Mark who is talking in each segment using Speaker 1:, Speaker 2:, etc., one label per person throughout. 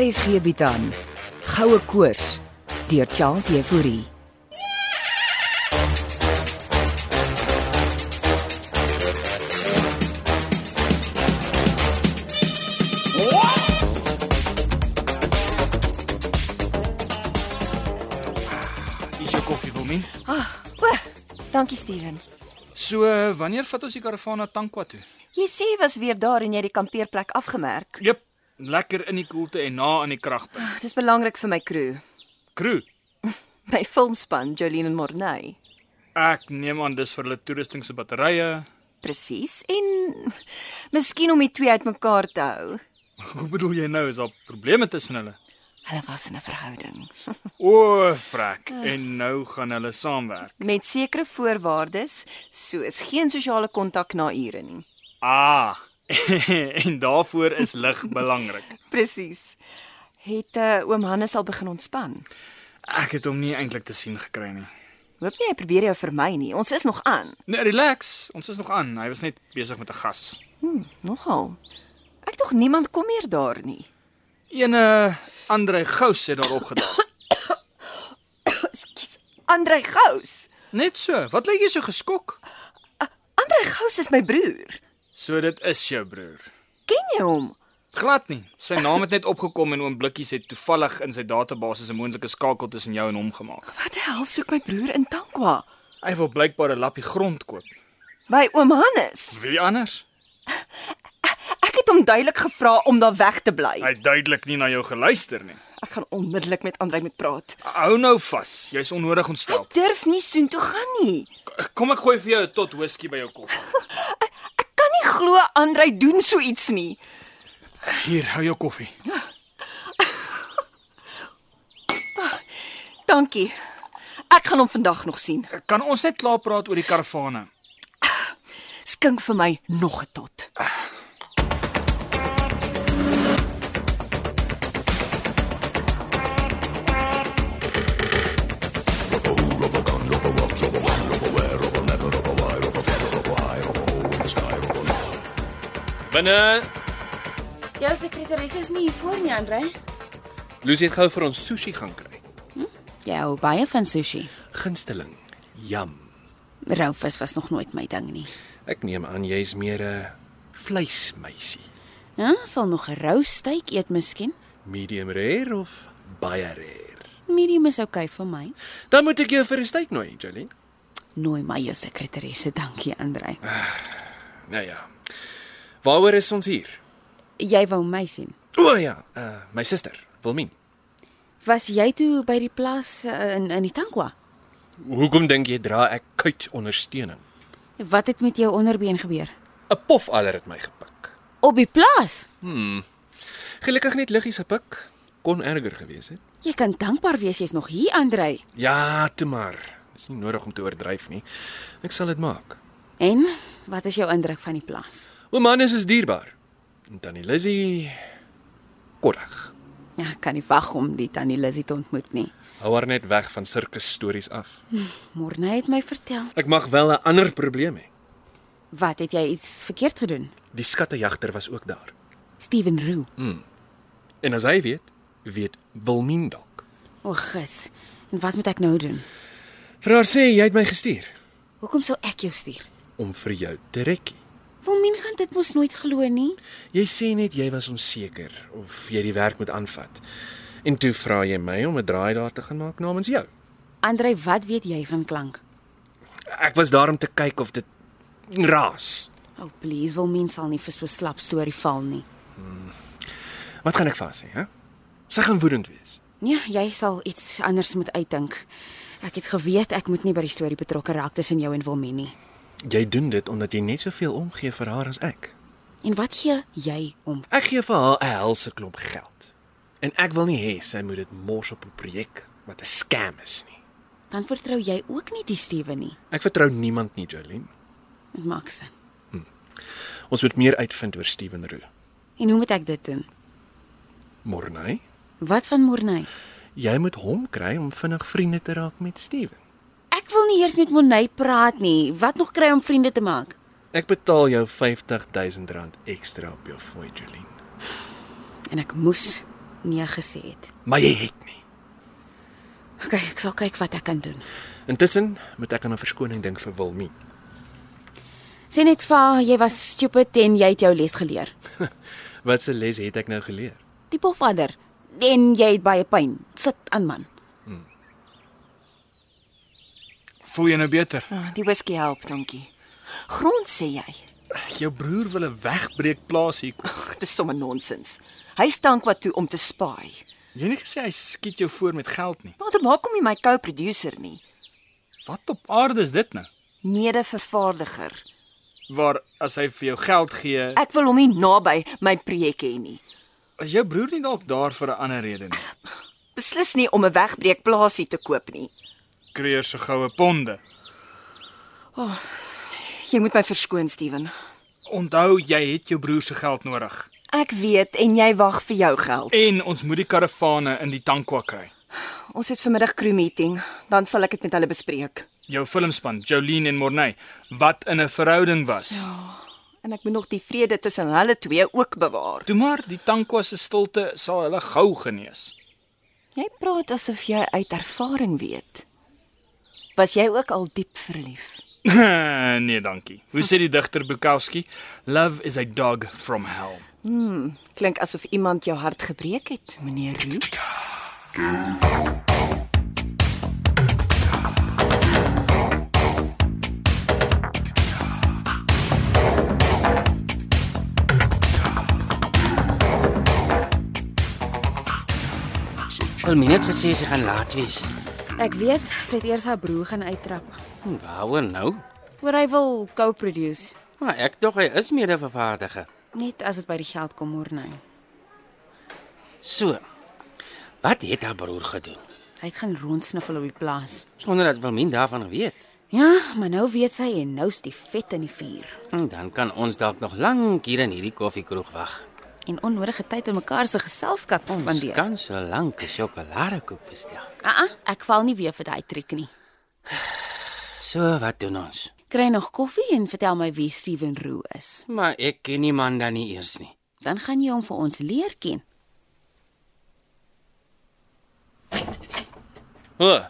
Speaker 1: RSG bied aan Goue Koors deur Charles Euphorie.
Speaker 2: Dis jou koffie, Wilmien.
Speaker 3: O, dankie Steven.
Speaker 2: So, eh, wanneer vat ons die karavaan na Tankwa toe?
Speaker 3: Jy sê jy was weer daar en jy het die kampeerplek afgemerk.
Speaker 2: Jep, lekker in die koelte en na aan die kragpunt.
Speaker 3: Dis belangrik vir my crew,
Speaker 2: Crew,
Speaker 3: my filmspan Jolene en Morney.
Speaker 2: ek neem aan dis vir hulle toerusting se batterye.
Speaker 3: Presies en miskien om die twee uitmekaar te hou.
Speaker 2: Hoe bedoel jy nou is daar probleme tussen hulle?
Speaker 3: Hulle was in 'n verhouding
Speaker 2: O, frek. En nou gaan hulle saamwerk.
Speaker 3: met sekere voorwaardes, soos geen sosiale kontak na ure nie.
Speaker 2: Ah. en daarvoor is lig belangrik.
Speaker 3: Presies. Het uh, oom Hannes al begin ontspan?
Speaker 2: Ek het hom nie eintlik te sien gekry nie.
Speaker 3: Hoop nie hy probeer jou vermy nie. Ons is nog aan.
Speaker 2: Nee, relax. Ons is nog aan. Hy was net besig met 'n gas.
Speaker 3: Hm, nogal. Ek tog niemand kom meer daar nie.
Speaker 2: Ene Andre eh, Gous het daarop gedag.
Speaker 3: Ekskuus, Oh, Andrei Gous.
Speaker 2: Net so. Wat lyk jy so geskok?
Speaker 3: Andrei Gous is my broer.
Speaker 2: So dit is jou broer.
Speaker 3: Ken jy hom?
Speaker 2: Glad nie. Sy naam het net opgekom en oom Blikkies het toevallig in sy database 'n moontlike skakel tussen jou en hom gemaak.
Speaker 3: Wat die hel soek my broer in Tankwa?
Speaker 2: Hy wil blykbaar 'n lappie grond koop.
Speaker 3: By oom Hannes.
Speaker 2: Wie anders?
Speaker 3: Ek het hom duidelik gevra om daar weg te bly.
Speaker 2: Hy het duidelik nie na jou geluister nie.
Speaker 3: Ek gaan onmiddellik met Andrei moet praat.
Speaker 2: Hou nou vas. Jy's onnodig
Speaker 3: Hy
Speaker 2: ontstel.
Speaker 3: durf nie soontoe gaan nie.
Speaker 2: Kom ek gooi vir jou 'n tot whisky by jou koffie.
Speaker 3: Ek kan nie glo Andrei doen so iets nie.
Speaker 2: Hier, hou jou koffie.
Speaker 3: Dankie. Ek gaan hom vandag nog sien.
Speaker 2: Kan ons net klaar praat oor die karavane?
Speaker 3: Skink vir my nog 'n tot.
Speaker 4: Binne,
Speaker 5: Jou sekretaresse is nie hier voor nie, Andre.
Speaker 4: Lucy het gou vir ons sushi gaan kry.
Speaker 5: Jy Ja, hou baie van sushi.
Speaker 4: Gunsteling. Jam.
Speaker 5: Rouvis was nog nooit my ding nie.
Speaker 4: Ek neem aan jy's meer 'n vleismeisie.
Speaker 5: Ja, sal nog 'n rou steak eet miskien.
Speaker 4: Medium rare of baie rare?
Speaker 5: Medium is oukei okay vir my.
Speaker 4: Dan moet ek jou vir 'n steak nooi, Jolene.
Speaker 5: Nooi my jou sekretaresse, dankie Andre.
Speaker 4: Nou ja. Waaroor is ons hier?
Speaker 5: Jy wou my sien.
Speaker 4: O ja, uh, my suster, Wilmien.
Speaker 5: Was jy toe by die plaas eh, in in die Tankwa?
Speaker 4: Hoekom dink jy dra ek kuit ondersteuning?
Speaker 5: Wat het met jou onderbeen gebeur?
Speaker 4: 'n Pof aller het my gepik. Hmm.
Speaker 5: Op die plaas.
Speaker 4: Gelukkig net liggies gepik. Kon erger gewees het.
Speaker 5: Jy kan dankbaar wees jy's nog hier, Andre.
Speaker 4: Ja, toe maar. Dis nie nodig om te oordryf nie. Ek sal dit maak.
Speaker 5: En wat is jou indruk van die plaas?
Speaker 4: Oom Hannes is dierbaar. En tannie Lizzy korrig.
Speaker 5: Ja, ek kan nie wag om die tannie Lizzie te ontmoet nie.
Speaker 4: Hou haar net weg van sirkus stories af.
Speaker 5: Morne het my vertel,
Speaker 4: Ek mag wel 'n ander probleem hê.
Speaker 5: wat het jy iets verkeerd gedoen?
Speaker 4: Die skattejagter was ook daar.
Speaker 5: Steven Roo.
Speaker 4: En as hy weet, weet Wilmien dalk.
Speaker 5: O, gits. En wat moet ek nou doen?
Speaker 4: Vir haar sê jy het my gestuur
Speaker 5: Hoekom sou ek jou stuur?
Speaker 4: om vir jou te rekkie.
Speaker 5: Wilmien gaan dit mos nooit glo nie.
Speaker 4: Jy sê net jy was onseker of jy die werk moet aanvat. En toe vra jy my om 'n draai daar te gaan maak namens jou.
Speaker 5: Andrej, wat weet jy van klank?
Speaker 4: Ek was daar om te kyk of dit raas.
Speaker 5: O, oh, please, Wilmien sal nie vir so slap storie val nie.
Speaker 4: Wat gaan ek vir haar sê, hè? Sy gaan woedend wees.
Speaker 5: Nee, jy sal iets anders moet uitdink. Ek het geweet ek moet nie by die storie betrokke raak tussen jou en Wilmien nie.
Speaker 4: Jy doen dit omdat jy net soveel omgee vir haar as ek.
Speaker 5: En wat gee jy om?
Speaker 4: Ek gee vir haar 'n helse klomp geld. En ek wil nie hê sy moet dit mors op 'n projek wat 'n scam is nie.
Speaker 5: Dan vertrou jy ook nie die Steven nie.
Speaker 4: Ek vertrou niemand nie, Jolene.
Speaker 5: Dit maak sin.
Speaker 4: Ons moet meer uitvind oor Steven Roo.
Speaker 5: En hoe moet ek dit doen?
Speaker 4: Morney,
Speaker 5: Wat van Morney?
Speaker 4: jy moet hom kry om vinnig vriende te raak met Steven.
Speaker 5: Ek wil nie eers met Morney praat nie. Wat nog kry om vriende te maak?
Speaker 4: Ek betaal jou R50000 ekstra op jou fooi, Jolene.
Speaker 5: En ek moes nee gesê het.
Speaker 4: maar jy het nie.
Speaker 5: OK, ek sal kyk wat ek kan doen.
Speaker 4: Intussen moet ek aan 'n verskoning dink vir Wilmie.
Speaker 5: Sê net vir haar jy was stupid en jy het jou les geleer.
Speaker 4: Wat se les het ek nou geleer?
Speaker 5: Die pofadder en jy het baie pyn. Sit aan man.
Speaker 2: Voel jy nou beter?
Speaker 3: Ah, die whisky help, dankie. Grond sê jy.
Speaker 2: Jou broer wil 'n wegbreek plaas hier kom.
Speaker 3: Ag, dis sommer nonsens. Hy stank wat toe om te spaai.
Speaker 2: Jy het nie gesê hy skiet jou voor met geld nie.
Speaker 3: Maar dit maak hom nie my co-producer nie,
Speaker 2: Wat op aarde is dit nou?
Speaker 3: mede-vervaardiger.
Speaker 2: Waar as hy vir jou geld gee,
Speaker 3: Ek wil hom nie naby my projek hê nie.
Speaker 2: is jou broer nie dalk daar vir 'n ander rede nie.
Speaker 3: Beslis nie om 'n wegbreekplaasie te koop nie.
Speaker 2: Kreer se goue ponde.
Speaker 3: Jy moet my verskoon, Steven.
Speaker 2: Onthou jy het jou broer se geld nodig.
Speaker 3: Ek weet en jy wag vir jou geld.
Speaker 2: En ons moet die karavane in die tankwa kry.
Speaker 3: Ons het vanmiddag crew meeting, dan sal ek dit met hulle bespreek.
Speaker 2: Jou filmspan, Jolene en Morney, wat in 'n verhouding was. Ja.
Speaker 3: En ek moet nog die vrede tussen hulle twee ook bewaar.
Speaker 2: Toe maar die tankwa se stilte sal hulle gou genees.
Speaker 3: Jy praat asof jy uit ervaring weet. Was jy ook al diep verlief?
Speaker 2: nee, dankie. Hoe sê die digter Bukowski? Love is a dog from hell.
Speaker 3: Klink asof iemand jou hart gebreek het, meneer Roo.
Speaker 6: Wilmien het gesê sy gaan laat wees.
Speaker 5: Ek weet sy het eers haar broer gaan uittrap.
Speaker 6: Hm, waaroor nou?
Speaker 5: Oor hy wil co-produce,
Speaker 6: Maar ek dink hy is mede-vervaardiger.
Speaker 5: net as dit by die geld kom hoor nou.
Speaker 6: So. Wat het haar broer gedoen
Speaker 5: Hy het gaan rondsniffel op die plaas.
Speaker 6: sonder dat Wilmien daarvan weet?
Speaker 5: Ja, maar nou weet sy en nou's die vet in die vuur.
Speaker 6: En Hmm, dan kan ons dalk nog lank hier in hierdie koffiekroeg wag.
Speaker 5: En onnodige tyd in mekaar se geselskap
Speaker 6: Ons
Speaker 5: spandeer.
Speaker 6: kan so lank 'n sjokoladekoek bestel.
Speaker 5: Ah, ah, ek val nie weer vir daai triek nie.
Speaker 6: So, wat doen ons?
Speaker 5: Kry nog koffie en vertel my wie Steven Roo is.
Speaker 6: Maar ek ken die man dan nie eers nie.
Speaker 5: Dan gaan jy hom vir ons leer ken.
Speaker 4: O, oh,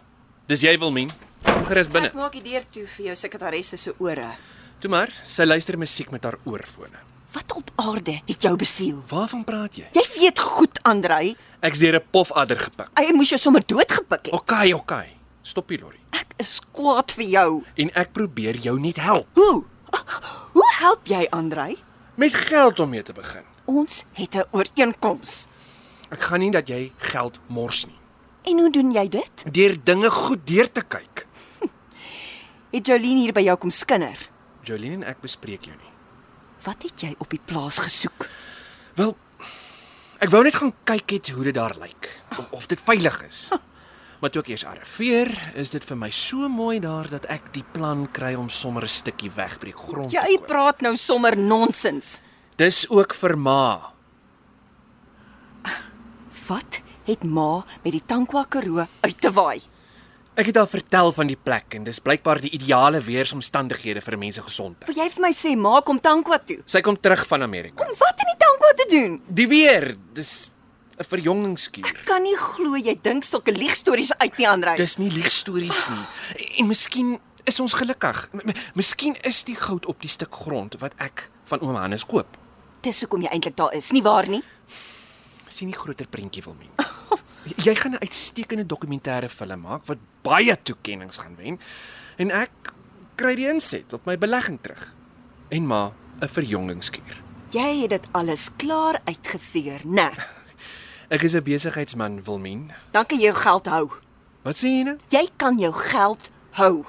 Speaker 4: dis jy Wilmien. Kom gerus binne.
Speaker 3: Ek maak die deur toe vir jou sekretaresse se ore.
Speaker 4: Toe maar, sy luister musiek met haar oorfone.
Speaker 3: Wat op aarde het jou besiel?
Speaker 4: Waarvan praat jy?
Speaker 3: Jy weet goed, Andrei,
Speaker 4: Ek's deur 'n pofadder gepik.
Speaker 3: hy moes jou sommer doodgepik het.
Speaker 4: OK, OK. Stop hier, Lori.
Speaker 3: Ek is kwaad vir jou.
Speaker 4: En ek probeer jou net help
Speaker 3: Hoe? Hoe help jy, Andrei?
Speaker 4: met geld om mee te begin.
Speaker 3: Ons het 'n ooreenkoms.
Speaker 4: Ek gaan nie dat jy geld mors nie.
Speaker 3: En hoe doen jy dit?
Speaker 4: Deur dinge goed deur te kyk.
Speaker 3: Het Jolien hier by jou kom skinder?
Speaker 4: Jolene en ek bespreek jou nie.
Speaker 3: Wat het jy op die plaas gesoek?
Speaker 4: Wel, ek wou net gaan kyk het hoe dit daar lyk of, of dit veilig is. Maar toe ek eers arriveer, is dit vir my so mooi daar dat ek die plan kry om sommer 'n stukkie wegbreek grond te
Speaker 3: Jy
Speaker 4: koop.
Speaker 3: praat nou sommer nonsens.
Speaker 4: Dis ook vir ma.
Speaker 3: Wat het ma met die tankwa Karoo uit te waai?
Speaker 4: Ek het al vertel van die plek en dis blykbaar die ideale weersomstandighede vir 'n mens se gesondheid.
Speaker 3: Wil jy vir my sê ma kom tankwa toe?
Speaker 4: Sy kom terug van Amerika.
Speaker 3: Om wat in die tankwa te doen?
Speaker 4: Die weer, dis 'n verjongingskuur.
Speaker 3: Kan nie glo jy dink sulke leegstories uit nie, Andrei.
Speaker 4: Dis nie leegstories nie. En miskien is ons gelukkig. M- Miskien is die goud op die stuk grond wat ek van oom Hannes koop.
Speaker 3: Dis hoekom jy eintlik daar is, nie waar nie?
Speaker 4: Sien nie groter prentjie wil men. Jy gaan 'n uitstekende dokumentêre film maak wat baie toekenninge gaan wen en ek kry die inset op my belegging terug. En ma, 'n verjongingskuur.
Speaker 3: Jy het dit alles klaar uitgeveer, né?
Speaker 4: Ek is 'n besigheidsman, Wilmien.
Speaker 3: Dan kan jy jou geld hou.
Speaker 4: Wat sê jy nou?
Speaker 3: Jy kan jou geld hou.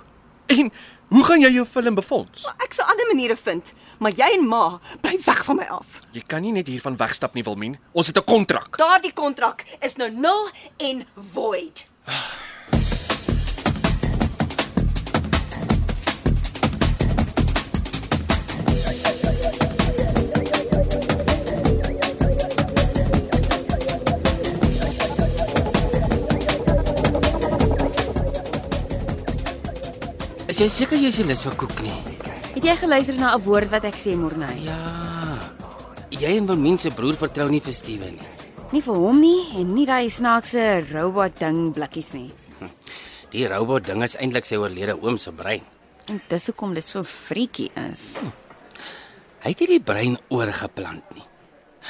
Speaker 4: En hoe gaan jy jou film befonds?
Speaker 3: Ek sal ander maniere vind, maar jy en ma bly weg van my af.
Speaker 4: Jy kan nie net hiervan wegstap nie, Wilmien. Ons het 'n kontrak.
Speaker 3: Daardie kontrak is nou nul en void.
Speaker 6: Is jy seker jy is nie lus vir koek nie?
Speaker 5: Het jy geluister na 'n woord wat ek sê Morney?
Speaker 6: Ja. Jy en Wilmien se broer vertrou nie vir Steven nie.
Speaker 5: Nie vir hom nie en nie daai snaakse robot ding blikkies nie.
Speaker 6: Die robot ding is eintlik sy oorlede oom se brein.
Speaker 5: En dis hoekom dit so friekie is.
Speaker 6: Hy het hierdie brein oorgeplant nie.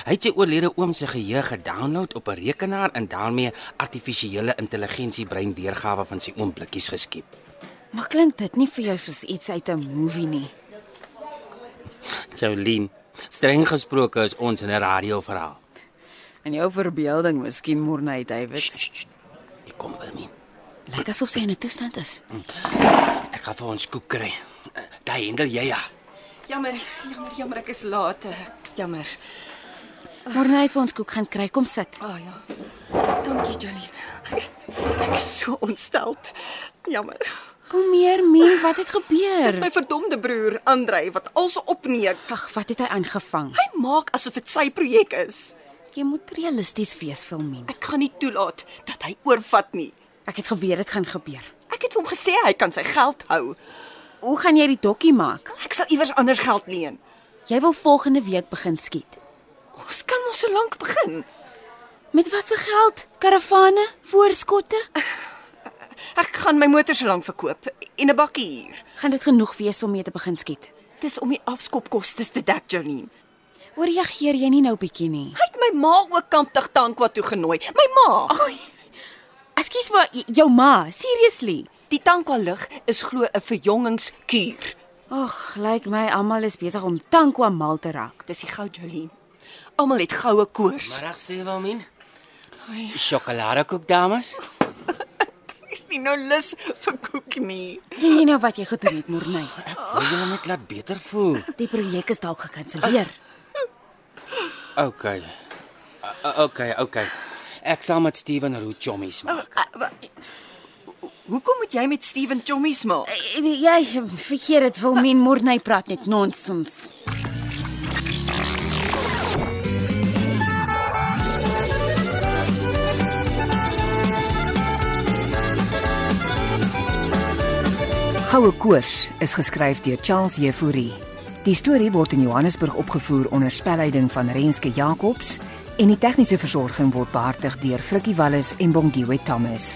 Speaker 6: Hy het sy oorlede oom se geheue gedownload op 'n rekenaar en daarmee artifisiële intelligensie brein weergawe van sy oom blikkies geskep.
Speaker 5: Maar klink dit nie vir jou soos iets uit 'n movie nie?
Speaker 6: Jolien, streng gesproke is ons in 'n radioverhaal.
Speaker 5: In jou verbeelding miskien Morney Davids.
Speaker 6: Ek kom wel min.
Speaker 5: Lyk asof sy in 'n toestand is.
Speaker 6: Ek gaan vir ons koek kry. Daai hendel jy ja.
Speaker 3: Jammer, jammer, jammer ek is laat. Ek- Jammer.
Speaker 5: Morney het vir ons koek gaan kry. Kom sit.
Speaker 3: Ah oh, ja. Dankie Jolien. Ek, ek is so ontsteld. Jammer.
Speaker 5: Kom meer, Mie, wat het
Speaker 3: Dis my
Speaker 5: gebeur?
Speaker 3: verdomde broer Andrei wat als opneek.
Speaker 5: Ag, wat het hy aangevang?
Speaker 3: Hy maak asof dit sy projek is.
Speaker 5: Jy moet realisties wees, Filmien.
Speaker 3: Ek gaan nie toelaat dat hy oorvat nie.
Speaker 5: Ek het geweet dit gaan gebeur.
Speaker 3: Ek het vir hom gesê hy kan sy geld hou.
Speaker 5: Hoe gaan jy die dokkie maak?
Speaker 3: Ek sal iewers anders geld leen.
Speaker 5: Jy wil volgende week begin skiet.
Speaker 3: Ons kan mos so lank begin.
Speaker 5: Met watse geld? Karavane, voorskotte?
Speaker 3: Ek gaan my motor so lank verkoop en 'n bakkie huur.
Speaker 5: Gaan dit genoeg wees om mee te begin skiet?
Speaker 3: Dis om die afskopkoste te dek, Jolien.
Speaker 5: Oorreageer jy nie nou bietjie nie.
Speaker 3: Hy het my ma ook kamp tig tankwa toe genooi. My ma. Ag,
Speaker 5: Ekskuus maar j- jou ma, seriously.
Speaker 3: die tankwa lig is glo 'n verjongingskuur.
Speaker 5: Ag, lyk my almal is besig om tankwa mal te raak.
Speaker 3: Dis die goud, Jolien. Almal het goue koers.
Speaker 6: Middag sê wel min. Sjokoladekoek dames.
Speaker 3: Ek's nie nou lus vir koek nie.
Speaker 5: sien jy nou wat jy gedoen het, Morney?
Speaker 6: Wil jy my laat beter voel?
Speaker 5: Die projek is dalk gekanselleer.
Speaker 6: Okay. O- Okay, okay. Ek sal met Steven Roo chommies maak.
Speaker 3: Hoekom moet jy met Steven chommies maak?
Speaker 5: Eh, Jy vergeet dit wil men Morney praat net nonsens.
Speaker 1: Goue Koors is geskryf deur Charles Jefouri. Die storie word in Johannesburg opgevoer onder spelleiding van Renske Jacobs en die tegniese versorging word behartig deur Frikkie Wallis en Bongwe Thomas.